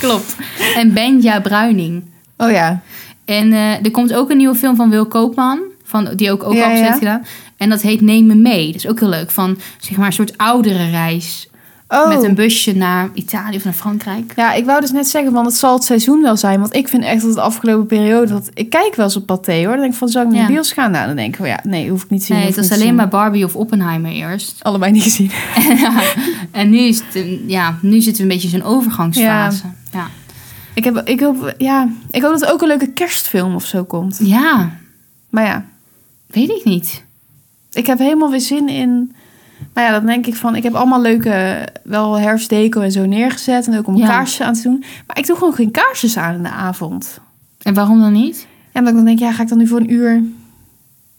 Speaker 2: klopt. En Benja Bruining.
Speaker 1: Oh ja.
Speaker 2: En eh, er komt ook een nieuwe film van Wil Koopman. Van, die ook, ook
Speaker 1: Ja,
Speaker 2: al
Speaker 1: ja.
Speaker 2: heeft gedaan. En dat heet Neem me mee. Dat is ook heel leuk. Van zeg maar een soort oudere reis.
Speaker 1: Oh.
Speaker 2: Met een busje naar Italië of naar Frankrijk.
Speaker 1: Ja, ik wou dus net zeggen, want het zal het seizoen wel zijn. Want ik vind echt dat de afgelopen periode... Dat, ik kijk wel eens op Pathé, hoor. Dan denk ik van, zou ik naar de
Speaker 2: Ja.
Speaker 1: bios gaan? Nou, dan denk ik, oh ja, nee, hoef ik niet te zien.
Speaker 2: Nee,
Speaker 1: hoef
Speaker 2: het
Speaker 1: ik
Speaker 2: was
Speaker 1: niet te
Speaker 2: alleen
Speaker 1: zien.
Speaker 2: maar Barbie of Oppenheimer eerst.
Speaker 1: Allebei niet gezien.
Speaker 2: En nu, is het, een- ja, nu zitten we een beetje in zo'n overgangsfase. Ja.
Speaker 1: Ik, heb, ik, hoop, ja, ik hoop dat er ook een leuke kerstfilm of zo komt.
Speaker 2: ja.
Speaker 1: Maar ja,
Speaker 2: weet ik niet.
Speaker 1: ik heb helemaal weer zin in... Maar ja, dan denk ik van... Ik heb allemaal leuke, wel herfstdeco en zo neergezet. En ook om
Speaker 2: Ja.
Speaker 1: kaarsjes aan te doen. Maar ik doe gewoon geen kaarsjes aan in de avond.
Speaker 2: En waarom dan niet?
Speaker 1: En dat ik dan denk, ja, ga ik dan nu voor een uur...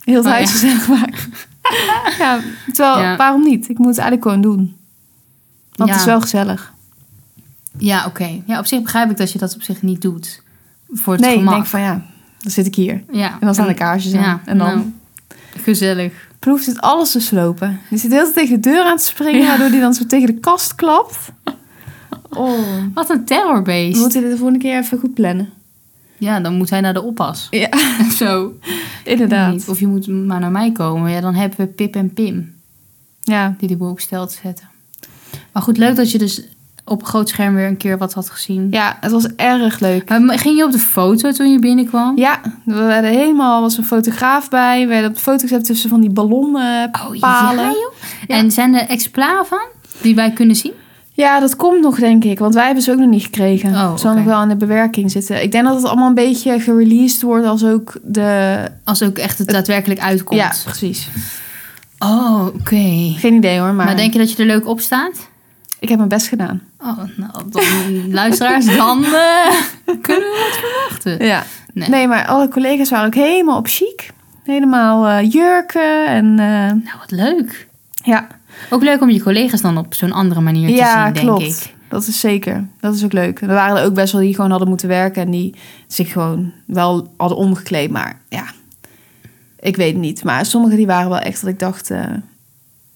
Speaker 1: Heel het
Speaker 2: Oh,
Speaker 1: huis
Speaker 2: ja.
Speaker 1: gezellig maken? ja, terwijl,
Speaker 2: Ja.
Speaker 1: waarom niet? Ik moet het eigenlijk gewoon doen. Want
Speaker 2: Ja.
Speaker 1: het is wel gezellig.
Speaker 2: Ja, oké. Ja, op zich begrijp ik dat je dat op zich niet doet. Voor het
Speaker 1: Nee, ik
Speaker 2: gemak.
Speaker 1: denk van ja, dan zit ik hier.
Speaker 2: ja.
Speaker 1: En dan staan de kaarsjes aan.
Speaker 2: Ja,
Speaker 1: en dan...
Speaker 2: nou, gezellig.
Speaker 1: Proef zit alles te slopen. Die zit de hele tijd tegen de deur aan te springen,
Speaker 2: Ja.
Speaker 1: waardoor die dan zo tegen de kast klapt. Oh.
Speaker 2: Wat een terrorbeest.
Speaker 1: We moeten dit de volgende keer even goed plannen.
Speaker 2: Ja, dan moet hij naar de oppas.
Speaker 1: Ja,
Speaker 2: Zo.
Speaker 1: inderdaad.
Speaker 2: Niet. Of je moet maar naar mij komen. Ja, dan hebben we Pip en Pim
Speaker 1: Ja.
Speaker 2: die de boel op stel te zetten. Maar goed, leuk dat je dus op een groot scherm weer een keer wat had gezien.
Speaker 1: Ja, het was erg leuk.
Speaker 2: Maar ging je op de foto toen je binnenkwam?
Speaker 1: Ja, we werden helemaal, er was een fotograaf bij. We werden op de foto gezet tussen van die ballonnen.
Speaker 2: Oh,
Speaker 1: Palen.
Speaker 2: ja joh. En zijn er exemplaren van die wij kunnen zien?
Speaker 1: Ja, dat komt nog, denk ik. Want wij hebben ze ook nog niet gekregen.
Speaker 2: Oh,
Speaker 1: Ze zal nog
Speaker 2: oké.
Speaker 1: wel in de bewerking zitten. Ik denk dat het allemaal een beetje gereleased wordt als ook de...
Speaker 2: Als ook echt het daadwerkelijk uitkomt.
Speaker 1: Ja, precies.
Speaker 2: Oh, oké.
Speaker 1: Geen idee hoor, maar,
Speaker 2: Maar denk je dat je er leuk op staat?
Speaker 1: ik heb mijn best gedaan.
Speaker 2: Oh, nou, dan, luisteraars, dan eh, kunnen we wat verwachten.
Speaker 1: Ja.
Speaker 2: Nee.
Speaker 1: Nee, maar alle collega's waren ook helemaal op chic. Helemaal eh, jurken en... eh,
Speaker 2: Nou, wat leuk.
Speaker 1: ja,
Speaker 2: Ook leuk om je collega's dan op zo'n andere manier te zien, denk ik.
Speaker 1: Dat is zeker. Dat is ook leuk. Er waren er ook best wel die gewoon hadden moeten werken en die zich gewoon wel hadden omgekleed. Maar ja, ik weet het niet. Maar sommige die waren wel echt dat ik dacht. eh,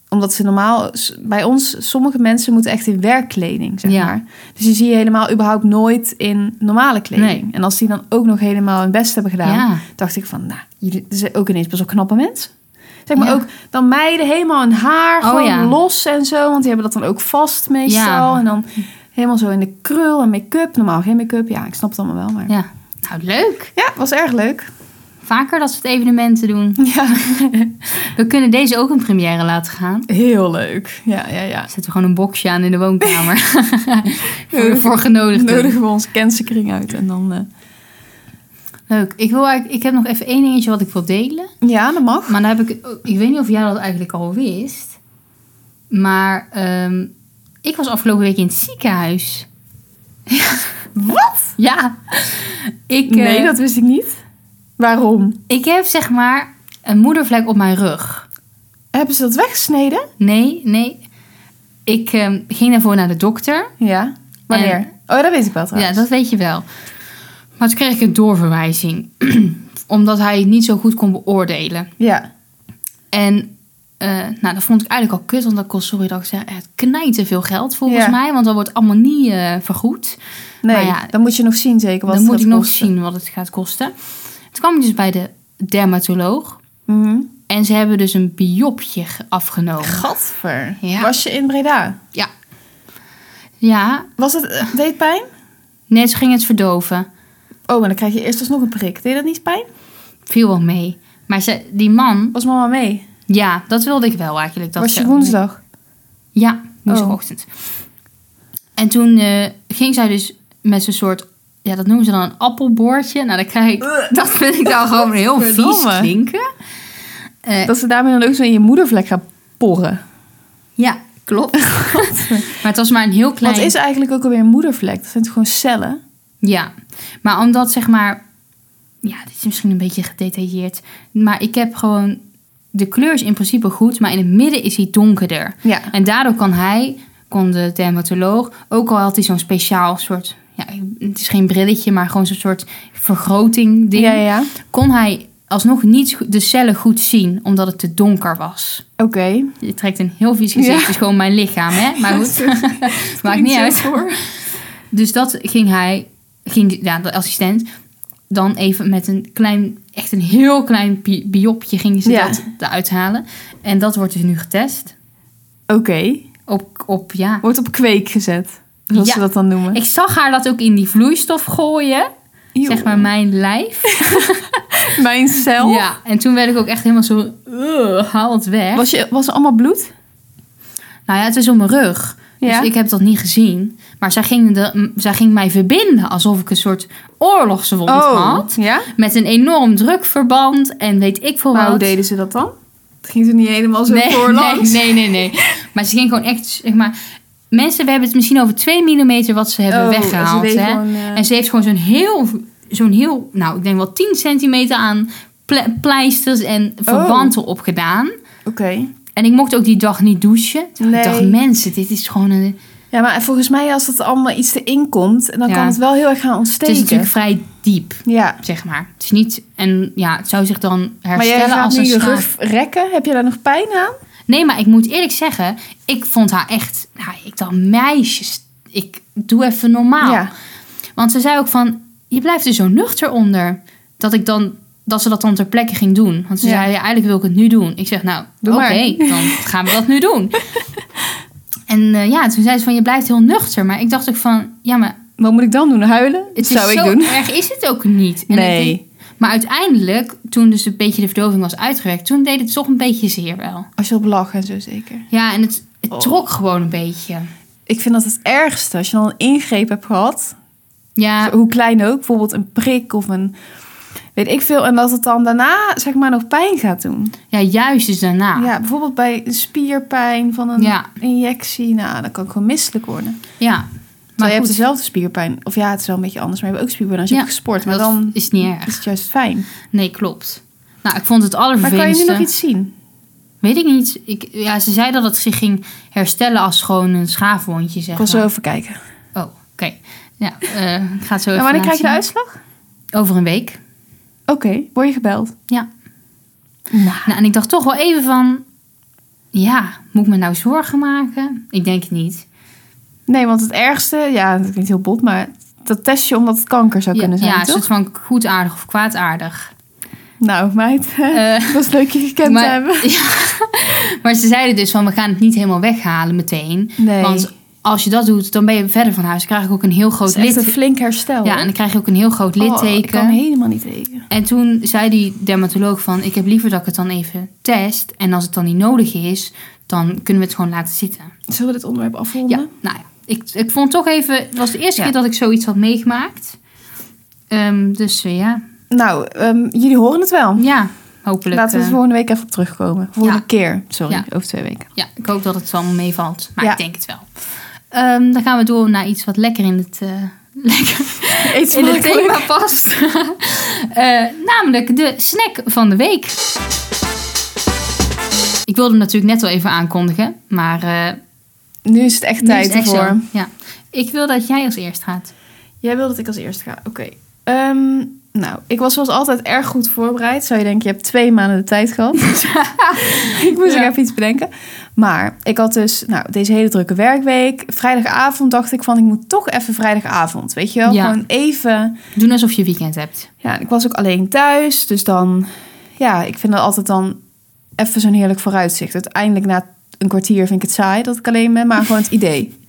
Speaker 1: omdat ze normaal s- bij ons, sommige mensen moeten echt in werkkleding, zeg
Speaker 2: Ja.
Speaker 1: maar. Dus die zie je helemaal überhaupt nooit in normale kleding.
Speaker 2: Nee.
Speaker 1: En als die dan ook nog helemaal hun best hebben gedaan,
Speaker 2: Ja.
Speaker 1: dacht ik van, nou, jullie zijn ook ineens best wel knappe mensen. Zeg maar
Speaker 2: Ja.
Speaker 1: ook dan meiden helemaal hun haar
Speaker 2: Oh,
Speaker 1: gewoon
Speaker 2: ja.
Speaker 1: los en zo, want die hebben dat dan ook vast meestal.
Speaker 2: Ja.
Speaker 1: En dan helemaal zo in de krul en make-up. Normaal geen make-up, ja, ik snap het allemaal wel, maar ja,
Speaker 2: Ja. Nou, leuk.
Speaker 1: was erg leuk.
Speaker 2: Vaker dat soort evenementen doen.
Speaker 1: Ja,
Speaker 2: We kunnen deze ook een première laten gaan.
Speaker 1: heel leuk. Ja, ja, ja.
Speaker 2: Zetten we gewoon een boxje aan in de woonkamer. voor, voor genodigden.
Speaker 1: Nodigen we ons kensekring uit en dan... eh,
Speaker 2: Leuk. Ik, wil eigenlijk, ik heb nog even één dingetje wat ik wil delen.
Speaker 1: Ja, dat mag.
Speaker 2: Maar dan heb ik... Ik weet niet of jij dat eigenlijk al wist. Maar ehm, ik was afgelopen week in het ziekenhuis.
Speaker 1: Wat?
Speaker 2: Ja. Ik, eh,
Speaker 1: Nee, dat wist ik niet. Waarom?
Speaker 2: ik heb zeg maar een moedervlek op mijn rug.
Speaker 1: Hebben ze dat weggesneden?
Speaker 2: Nee, nee. Ik ehm, ging daarvoor naar de dokter.
Speaker 1: Ja. Wanneer?
Speaker 2: En-
Speaker 1: Oh, dat weet ik wel
Speaker 2: Ja,
Speaker 1: trouwens.
Speaker 2: dat weet je wel. Maar toen kreeg ik een doorverwijzing. Omdat hij het niet zo goed kon beoordelen.
Speaker 1: Ja.
Speaker 2: En eh, nou, dat vond ik eigenlijk al kut. Want dat kost, sorry dat ik zeg, het knijt te veel geld volgens
Speaker 1: Ja.
Speaker 2: mij. Want dat wordt allemaal niet eh, vergoed.
Speaker 1: Nee,
Speaker 2: Maar ja,
Speaker 1: dan moet je nog zien zeker wat
Speaker 2: Dan
Speaker 1: het
Speaker 2: moet ik
Speaker 1: gaat
Speaker 2: nog
Speaker 1: kosten.
Speaker 2: zien wat het gaat kosten. Toen kwam ik dus bij de dermatoloog.
Speaker 1: Mhm.
Speaker 2: En ze hebben dus een biopje ge- afgenomen.
Speaker 1: Gadver.
Speaker 2: Ja.
Speaker 1: Was je in Breda?
Speaker 2: Ja. Ja.
Speaker 1: Was het, eh, deed het pijn?
Speaker 2: Nee, ze ging het verdoven.
Speaker 1: Oh, maar dan krijg je eerst alsnog een prik. Deed dat niet pijn?
Speaker 2: Viel wel mee. Maar ze, die man,
Speaker 1: Was mama mee?
Speaker 2: ja, dat wilde ik wel eigenlijk. Dat
Speaker 1: was je
Speaker 2: ze-
Speaker 1: woensdag? Oh.
Speaker 2: Ja, woensdagochtend. En toen eh, ging zij dus met zo'n soort, ja, dat noemen ze dan een appelboordje. Nou, dan krijg ik,
Speaker 1: Ugh.
Speaker 2: dat vind ik dan gewoon heel vies
Speaker 1: Godverdomme.
Speaker 2: klinken. Eh,
Speaker 1: Dat ze daarmee dan ook zo in je moedervlek gaan porren.
Speaker 2: ja, klopt. maar het was maar een heel klein.
Speaker 1: Wat is eigenlijk ook alweer een moedervlek? Dat zijn toch gewoon cellen?
Speaker 2: Ja, maar omdat zeg maar. Ja, dit is misschien een beetje gedetailleerd. Maar ik heb gewoon. De kleur is in principe goed, maar in het midden is hij donkerder.
Speaker 1: Ja.
Speaker 2: En daardoor kan hij, kon de dermatoloog, ook al had hij zo'n speciaal soort. Ja, het is geen brilletje, maar gewoon zo'n soort vergroting ding.
Speaker 1: Ja, ja, ja.
Speaker 2: Kon hij alsnog niet go- de cellen goed zien, omdat het te donker was.
Speaker 1: Oké.
Speaker 2: Je trekt een heel vies gezicht,
Speaker 1: Ja.
Speaker 2: het is gewoon mijn lichaam, hè? Maar goed, maakt niet uit. Dus dat ging hij, ging, ja, de assistent, dan even met een klein, echt een heel klein bi- biopje gingen ze
Speaker 1: Ja.
Speaker 2: dat eruit halen. En dat wordt dus nu getest.
Speaker 1: Oké.
Speaker 2: Op, op, ja.
Speaker 1: Wordt op kweek gezet. Zoals
Speaker 2: Ja.
Speaker 1: ze dat dan noemen.
Speaker 2: Ik zag haar dat ook in die vloeistof gooien.
Speaker 1: Eeuw.
Speaker 2: Zeg maar mijn lijf.
Speaker 1: Mijn cel.
Speaker 2: Ja, en toen werd ik ook echt helemaal zo, "Ugh, haal het weg.
Speaker 1: Was, je, was er allemaal bloed?
Speaker 2: Nou ja, het is om mijn rug.
Speaker 1: Ja.
Speaker 2: Dus ik heb dat niet gezien. Maar zij ging, de, m- zij ging mij verbinden alsof ik een soort oorlogswond had.
Speaker 1: Oh, ja?
Speaker 2: Met een enorm drukverband en weet ik veel
Speaker 1: Maar hoe
Speaker 2: wat.
Speaker 1: deden ze dat dan? Het ging er niet helemaal zo voor langs.
Speaker 2: Nee, nee, nee, nee. Maar ze ging gewoon echt, zeg maar... Mensen, we hebben het misschien over 2 mm wat ze hebben
Speaker 1: Oh,
Speaker 2: weggehaald.
Speaker 1: en ze deed
Speaker 2: hè?
Speaker 1: gewoon, eh,
Speaker 2: En ze heeft gewoon zo'n heel, zo'n heel, nou, ik denk wel 10 centimeter aan ple- pleisters en verband
Speaker 1: Oh.
Speaker 2: erop gedaan.
Speaker 1: Oké.
Speaker 2: En ik mocht ook die dag niet douchen. Terwijl Ik
Speaker 1: Nee.
Speaker 2: dacht, mensen, dit is gewoon een...
Speaker 1: Ja, maar volgens mij als dat allemaal iets te inkomt, dan
Speaker 2: Ja.
Speaker 1: kan het wel heel erg gaan
Speaker 2: Het
Speaker 1: ontsteken.
Speaker 2: is natuurlijk vrij diep,
Speaker 1: Ja.
Speaker 2: zeg maar. Het is niet... En ja, het zou zich dan
Speaker 1: Maar jij
Speaker 2: herstellen
Speaker 1: gaat
Speaker 2: als
Speaker 1: nu
Speaker 2: een
Speaker 1: je
Speaker 2: schaar.
Speaker 1: rug rekken. Heb je daar nog pijn aan?
Speaker 2: Nee, maar ik moet eerlijk zeggen, ik vond haar echt. Nou, ik dacht, meisjes, ik doe even normaal.
Speaker 1: Ja.
Speaker 2: Want ze zei ook van, je blijft er zo nuchter onder. Dat ik dan, dat ze dat dan ter plekke ging doen. Want ze
Speaker 1: Ja.
Speaker 2: zei, ja, eigenlijk wil ik het nu doen. Ik zeg, nou, oké,
Speaker 1: Doe maar.
Speaker 2: dan gaan we dat nu doen. En En eh, ja, toen zei ze van, je blijft heel nuchter. Maar ik dacht ook van, ja, maar
Speaker 1: Wat moet ik dan doen? Huilen?
Speaker 2: het
Speaker 1: zou
Speaker 2: is
Speaker 1: ik
Speaker 2: zo
Speaker 1: doen.
Speaker 2: erg is het ook niet. En ik denk-
Speaker 1: Nee.
Speaker 2: maar uiteindelijk, toen dus een beetje de verdoving was uitgewerkt... toen deed het toch een beetje zeer wel.
Speaker 1: Als je op lachen en zo zeker.
Speaker 2: Ja, en het, het
Speaker 1: Oh.
Speaker 2: trok gewoon een beetje.
Speaker 1: Ik vind dat het ergste. Als je dan een ingreep hebt gehad,
Speaker 2: Ja,
Speaker 1: hoe klein ook, bijvoorbeeld een prik of een weet ik veel, en dat het dan daarna zeg maar nog pijn gaat doen.
Speaker 2: ja juist dus daarna. Ja.
Speaker 1: Ja, bijvoorbeeld bij een spierpijn van een
Speaker 2: Ja.
Speaker 1: injectie, nou, dan kan ik gewoon misselijk worden. Maar je hebt
Speaker 2: goed,
Speaker 1: dezelfde spierpijn, of ja, het is wel een beetje anders, maar je hebt ook spierpijn als je
Speaker 2: Ja,
Speaker 1: hebt gesport. Maar
Speaker 2: dat
Speaker 1: dan
Speaker 2: is niet erg.
Speaker 1: is het juist fijn.
Speaker 2: Nee, klopt. Nou, ik vond het
Speaker 1: Maar kan je
Speaker 2: allervervelendste...
Speaker 1: nu nog iets zien?
Speaker 2: Weet ik niet. Ik, ja, ze zei dat het zich ging herstellen als gewoon een schaafwondje, zeg
Speaker 1: Ik wil
Speaker 2: maar.
Speaker 1: zo even kijken.
Speaker 2: Oh, oké. Ja, eh, ik ga het zo
Speaker 1: En
Speaker 2: even
Speaker 1: wanneer krijg je de
Speaker 2: laten
Speaker 1: uitslag?
Speaker 2: zien. Over een week.
Speaker 1: Oké, word je gebeld?
Speaker 2: Ja.
Speaker 1: Nou.
Speaker 2: Nou, en ik dacht toch wel even van... Ja, moet ik me nou zorgen maken? Ik denk het niet.
Speaker 1: Nee, want het ergste, ja, dat klinkt heel bot, maar dat test je omdat het kanker zou
Speaker 2: ja,
Speaker 1: kunnen zijn,
Speaker 2: ja, een
Speaker 1: toch?
Speaker 2: soort van goedaardig of kwaadaardig.
Speaker 1: Nou, meid,
Speaker 2: Eh,
Speaker 1: het was leuk je gekend te
Speaker 2: maar-
Speaker 1: hebben.
Speaker 2: Maar ze zeiden dus van, we gaan het niet helemaal weghalen meteen.
Speaker 1: Nee,
Speaker 2: Want als je dat doet, dan ben je verder van huis. Dan krijg ik ook een heel groot
Speaker 1: het is echt een
Speaker 2: litteken.
Speaker 1: flink herstel.
Speaker 2: Ja, en dan krijg je ook een heel groot litteken.
Speaker 1: Oh, ik kan helemaal niet tegen.
Speaker 2: En toen zei die dermatoloog van... ik heb liever dat ik het dan even test. En als het dan niet nodig is, dan kunnen we het gewoon laten zitten.
Speaker 1: Zullen we dit onderwerp afronden?
Speaker 2: Ja, nou ja. Ik, ik vond toch even... Het was de eerste
Speaker 1: Ja.
Speaker 2: keer dat ik zoiets had meegemaakt. Ehm, dus eh, ja.
Speaker 1: Nou, ehm, jullie horen het wel.
Speaker 2: Ja, hopelijk.
Speaker 1: Laten we
Speaker 2: eh,
Speaker 1: er volgende week even op terugkomen. Volgende keer, sorry,
Speaker 2: Ja.
Speaker 1: over twee weken.
Speaker 2: Ja, ik hoop dat het allemaal meevalt. Maar
Speaker 1: Ja.
Speaker 2: ik denk het wel. Ehm, dan gaan we door naar iets wat lekker in het... eh, lekker
Speaker 1: Eet
Speaker 2: in
Speaker 1: smakelijk.
Speaker 2: het thema past. Eh, namelijk de snack van de week. Ik wilde hem natuurlijk net al even aankondigen, maar eh,
Speaker 1: Nu is het echt
Speaker 2: nu is
Speaker 1: tijd
Speaker 2: het echt zo.
Speaker 1: voor.
Speaker 2: Ja. Ik wil dat jij als eerst gaat.
Speaker 1: Jij wil dat ik als eerste ga. Oké. Ehm, nou, ik was zoals altijd erg goed voorbereid. Zou je denken, je hebt twee maanden de tijd gehad. ik moest
Speaker 2: Ja.
Speaker 1: ook even iets bedenken. Maar ik had dus nou, deze hele drukke werkweek. Vrijdagavond dacht ik van, ik moet toch even vrijdagavond. Weet je wel?
Speaker 2: Ja.
Speaker 1: Gewoon even.
Speaker 2: Doen alsof je weekend hebt.
Speaker 1: Ja, ik was ook alleen thuis. Dus dan, ja, ik vind dat altijd dan even zo'n heerlijk vooruitzicht. Uiteindelijk na een kwartier vind ik het saai dat ik alleen ben. Maar gewoon het idee.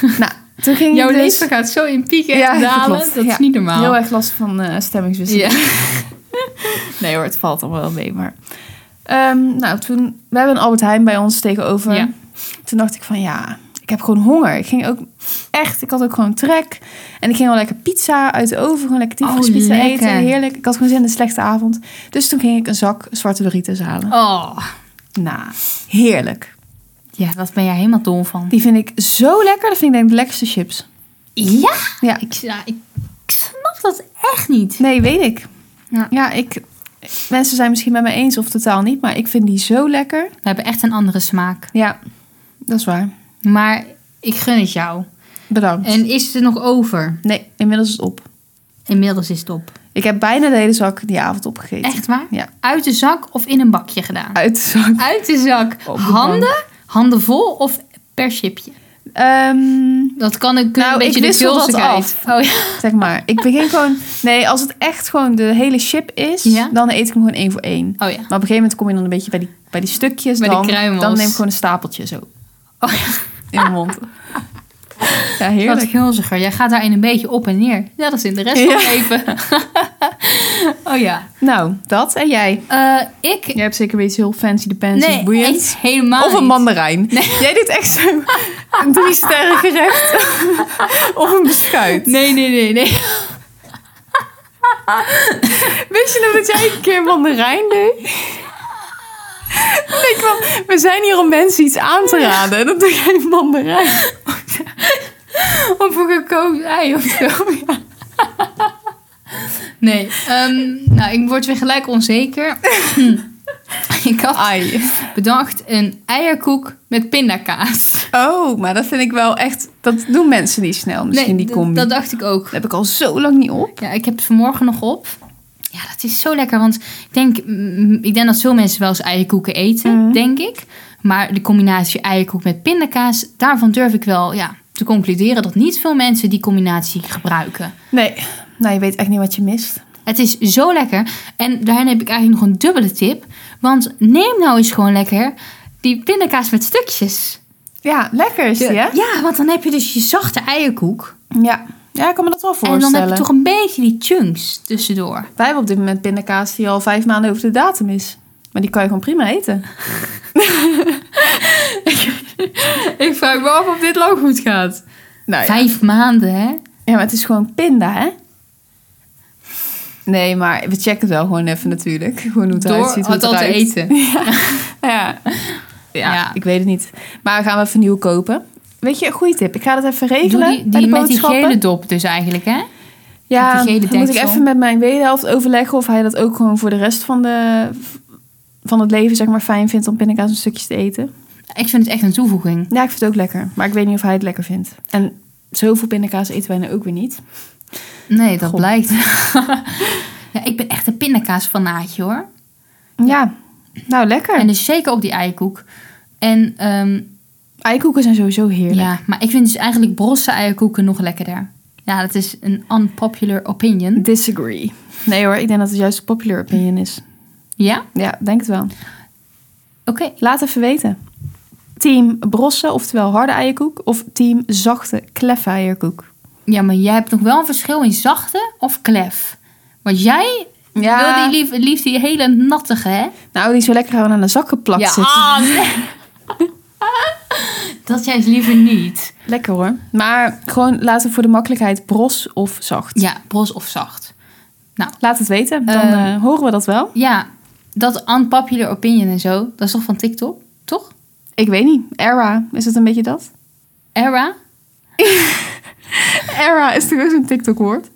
Speaker 1: nou, toen ging ik dus...
Speaker 2: gaat zo in pieken
Speaker 1: Ja, klopt. Ja. Heel
Speaker 2: Ja.
Speaker 1: erg last van eh stemmingswisseling. Nee hoor, het valt allemaal wel mee. Maar... Ehm, nou, toen... We hebben een Albert Heijn bij ons tegenover.
Speaker 2: Ja.
Speaker 1: Toen dacht ik van, ja, ik heb gewoon honger. Ik ging ook echt... Ik had ook gewoon trek. En ik ging wel lekker pizza uit de oven. Gewoon lekker tyfus
Speaker 2: Oh,
Speaker 1: pizza
Speaker 2: lekker.
Speaker 1: eten. Heerlijk. Ik had gewoon zin in een slechte avond. Dus toen ging ik een zak zwarte Doritos halen.
Speaker 2: Oh,
Speaker 1: Nou, heerlijk.
Speaker 2: ja, dat ben jij helemaal dol van.
Speaker 1: Die vind ik zo lekker. Dat vind ik denk ik de lekkerste chips.
Speaker 2: Ja?
Speaker 1: Ja.
Speaker 2: Ik, ja, ik, ik snap dat echt niet.
Speaker 1: Nee, weet ik.
Speaker 2: Ja.
Speaker 1: Ja, ik... Mensen zijn misschien met me eens of totaal niet, maar ik vind die zo lekker.
Speaker 2: We hebben echt een andere smaak.
Speaker 1: Ja, dat is waar.
Speaker 2: Maar ik gun het jou.
Speaker 1: Bedankt.
Speaker 2: En is het er nog over?
Speaker 1: Nee, inmiddels is het op.
Speaker 2: Inmiddels is het op.
Speaker 1: Ik heb bijna de hele zak die avond opgegeten.
Speaker 2: Echt waar?
Speaker 1: Ja.
Speaker 2: Uit de zak of in een bakje gedaan?
Speaker 1: Uit de zak.
Speaker 2: Uit de zak.
Speaker 1: Op de
Speaker 2: Handen? Handen vol of per chipje?
Speaker 1: Ehm,
Speaker 2: Dat kan ik kun je
Speaker 1: Nou,
Speaker 2: een beetje
Speaker 1: ik
Speaker 2: de
Speaker 1: wissel dat
Speaker 2: gulzigheid.
Speaker 1: af.
Speaker 2: Oh ja.
Speaker 1: zeg maar. Ik begin gewoon... Nee, als het echt gewoon de hele chip is,
Speaker 2: Ja?
Speaker 1: dan eet ik hem gewoon één voor één.
Speaker 2: Oh ja.
Speaker 1: Maar op een gegeven moment kom je dan een beetje bij die, bij die stukjes.
Speaker 2: Bij die
Speaker 1: dan,
Speaker 2: kruimels.
Speaker 1: dan neem ik gewoon een stapeltje zo
Speaker 2: Oh ja.
Speaker 1: in mijn mond. ja,
Speaker 2: Wat
Speaker 1: heerlijk.
Speaker 2: gulziger. Jij gaat daarin een beetje op en neer. Ja, dat is in de rest van
Speaker 1: Ja.
Speaker 2: het leven. oh ja.
Speaker 1: Nou, dat en jij.
Speaker 2: Eh, ik...
Speaker 1: Jij hebt zeker weer iets heel fancy de pants.
Speaker 2: nee,
Speaker 1: boeiend.
Speaker 2: echt helemaal
Speaker 1: Of een
Speaker 2: niet.
Speaker 1: mandarijn. Jij doet echt zo een drie sterren gerecht. of een beschuit.
Speaker 2: Nee, nee, nee, nee.
Speaker 1: Wist je nog dat jij een keer mandarijn deed? En ik kwam, we zijn hier om mensen iets aan te raden. En dan doe jij mandarijn.
Speaker 2: Of een gekookt ei of zo. ja. Nee, ehm, nou, ik word weer gelijk onzeker. Hm. ik had
Speaker 1: Ai.
Speaker 2: bedacht een eierkoek met pindakaas.
Speaker 1: Oh, maar dat vind ik wel echt... Dat doen mensen niet snel, misschien
Speaker 2: Nee,
Speaker 1: die
Speaker 2: d-
Speaker 1: combi.
Speaker 2: Dat
Speaker 1: Dat,
Speaker 2: dacht ik ook.
Speaker 1: heb ik al zo lang niet op.
Speaker 2: Ja, ik heb het vanmorgen nog op. Ja, dat is zo lekker. Want ik denk, mm, ik denk dat veel mensen wel eens eierkoeken eten,
Speaker 1: Mhm.
Speaker 2: denk ik. Maar de combinatie eierkoek met pindakaas, daarvan durf ik wel ja, te concluderen dat niet veel mensen die combinatie gebruiken.
Speaker 1: Nee, nou je weet echt niet wat je mist.
Speaker 2: Het is zo lekker. En daarin heb ik eigenlijk nog een dubbele tip. Want neem nou eens gewoon lekker die pindakaas met stukjes.
Speaker 1: Ja, lekker is die, hè?
Speaker 2: Ja, want dan heb je dus je zachte eierkoek.
Speaker 1: Ja. ja, ik kan me dat wel
Speaker 2: En
Speaker 1: voorstellen.
Speaker 2: dan heb je toch een beetje die chunks tussendoor.
Speaker 1: Wij hebben op dit moment pindakaas die al vijf maanden over de datum is. Maar die kan je gewoon prima eten.
Speaker 2: Ik vraag me af of dit lang goed gaat.
Speaker 1: Nou ja.
Speaker 2: Vijf maanden, hè?
Speaker 1: ja, maar het is gewoon pinda, hè? Nee, maar we checken het wel gewoon even natuurlijk. Gewoon hoe het
Speaker 2: Door
Speaker 1: eruit ziet, hoe
Speaker 2: het
Speaker 1: het
Speaker 2: al te
Speaker 1: ruikt.
Speaker 2: eten.
Speaker 1: Ja. Ja,
Speaker 2: Ja.
Speaker 1: ik weet het niet. Maar gaan we even nieuw kopen. Weet je, een goede tip. Ik ga dat even
Speaker 2: Doe
Speaker 1: regelen
Speaker 2: die,
Speaker 1: bij de
Speaker 2: die met die
Speaker 1: boodschappen.
Speaker 2: gele dop dus eigenlijk, hè?
Speaker 1: ja,
Speaker 2: met die gele
Speaker 1: dan moet ik
Speaker 2: deksel.
Speaker 1: even met mijn wederhelft overleggen of hij dat ook gewoon voor de rest van, de, van het leven zeg maar, fijn vindt om pindakaas en stukjes te eten.
Speaker 2: Ik vind het echt een toevoeging.
Speaker 1: Ja, ik vind het ook lekker. Maar ik weet niet of hij het lekker vindt. En zoveel pindakaas eten wij nou ook weer niet.
Speaker 2: Nee, dat
Speaker 1: Goh.
Speaker 2: blijkt. ja, ik ben echt een pindakaasfanaatje, hoor.
Speaker 1: Ja, nou lekker.
Speaker 2: En dus zeker ook die eierkoek. En ehm,
Speaker 1: Eikoeken zijn sowieso heerlijk.
Speaker 2: ja, maar ik vind dus eigenlijk brosse eierkoeken nog lekkerder. Ja, dat is een unpopular opinion.
Speaker 1: Disagree. Nee hoor, ik denk dat het juist een popular opinion is.
Speaker 2: Ja?
Speaker 1: Ja, denk het wel.
Speaker 2: Oké.
Speaker 1: Laat even weten. Team brossen, oftewel harde eierkoek, of team zachte kleffe eierkoek?
Speaker 2: Ja, maar jij hebt nog wel een verschil in zachte of klef. Want jij wil die lief, liefst die hele nattige, hè?
Speaker 1: nou die is wel lekker gewoon aan de zak geplakt
Speaker 2: ja,
Speaker 1: zitten.
Speaker 2: ah, nee. Dat juist liever niet.
Speaker 1: Lekker hoor. Maar gewoon laten we voor de makkelijkheid bros of zacht.
Speaker 2: Ja, bros of zacht.
Speaker 1: Laat het weten, dan
Speaker 2: Ehm.
Speaker 1: eh, horen we dat wel.
Speaker 2: Ja, dat unpopular opinion en zo, dat is toch van TikTok, toch?
Speaker 1: Ik weet niet. Era, is het een beetje dat?
Speaker 2: Era?
Speaker 1: Era is toch ook zo'n TikTok-woord?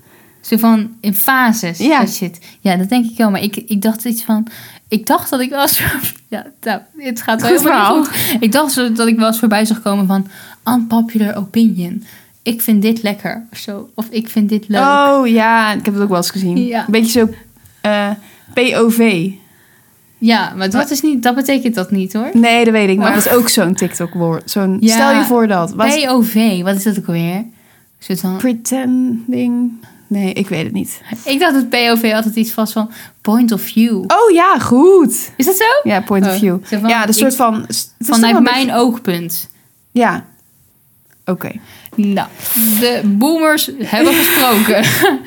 Speaker 2: Zo van in fases.
Speaker 1: Ja.
Speaker 2: Dat shit. Ja, dat denk ik wel. Maar ik, ik dacht iets van. Ik dacht dat ik wel eens. Ja, nou, het gaat wel
Speaker 1: Goed
Speaker 2: helemaal niet goed. Ik dacht zo dat ik wel eens voorbij zag komen van. Unpopular opinion. Ik vind dit lekker. Of zo. Of ik vind dit leuk.
Speaker 1: Oh ja, ik heb het ook wel eens gezien.
Speaker 2: Ja.
Speaker 1: Een beetje zo eh, POV.
Speaker 2: Ja, maar dat, is niet, dat betekent dat niet hoor.
Speaker 1: Nee, dat weet ik. Maar
Speaker 2: Oh.
Speaker 1: dat is ook zo'n TikTok-woord. Zo'n,
Speaker 2: Ja.
Speaker 1: Stel je voor dat. Was
Speaker 2: POV, wat is dat ook alweer? Soort van,
Speaker 1: pretending? Nee, ik weet het niet.
Speaker 2: ik dacht dat POV altijd iets was van point of view.
Speaker 1: Oh ja, goed.
Speaker 2: Is dat zo?
Speaker 1: Ja, point of
Speaker 2: Oh,
Speaker 1: view.
Speaker 2: zo van-
Speaker 1: ja, de
Speaker 2: ik-
Speaker 1: soort van... het is toch wel
Speaker 2: Vanuit
Speaker 1: een
Speaker 2: mijn oogpunt.
Speaker 1: beetje- Ja. Oké.
Speaker 2: Nou, de boomers hebben gesproken.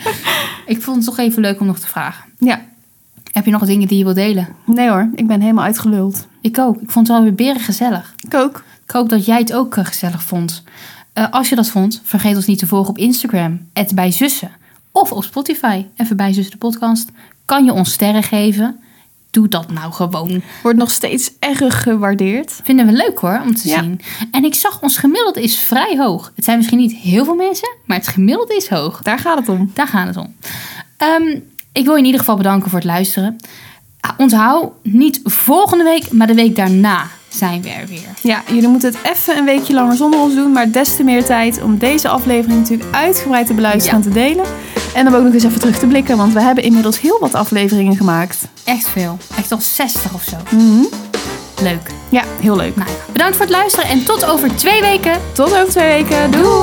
Speaker 2: ik vond het toch even leuk om nog te vragen.
Speaker 1: Ja.
Speaker 2: Heb je nog dingen die je wilt delen?
Speaker 1: Nee hoor, ik ben helemaal uitgeluld.
Speaker 2: Ik ook. Ik vond het wel weer beren gezellig.
Speaker 1: Ik ook.
Speaker 2: Ik hoop dat jij het ook eh, gezellig vond. Eh, als je dat vond, vergeet ons niet te volgen op Instagram, bijzussen. Of op Spotify, even bij Zussen de podcast. Kan je ons sterren geven? Doe dat nou gewoon.
Speaker 1: Wordt nog steeds erg gewaardeerd.
Speaker 2: Vinden we leuk hoor, om te
Speaker 1: Ja.
Speaker 2: zien. En ik zag, ons gemiddelde is vrij hoog. Het zijn misschien niet heel veel mensen, maar het gemiddelde is hoog.
Speaker 1: Daar gaat het om.
Speaker 2: Daar gaat het om. Ehm, ik wil je in ieder geval bedanken voor het luisteren. Ah, Onthoud, niet volgende week, maar de week daarna zijn we er weer.
Speaker 1: Ja, jullie moeten het even een weekje langer zonder ons doen. Maar des te meer tijd om deze aflevering natuurlijk uitgebreid te beluisteren
Speaker 2: Ja.
Speaker 1: en te delen. En dan ook nog eens even terug te blikken. Want we hebben inmiddels heel wat afleveringen gemaakt.
Speaker 2: Echt veel. Echt al 60 of zo.
Speaker 1: Mhm.
Speaker 2: Leuk.
Speaker 1: Ja, heel leuk.
Speaker 2: Nou, ja, bedankt voor het luisteren en tot over twee weken.
Speaker 1: Tot over twee weken. Doei!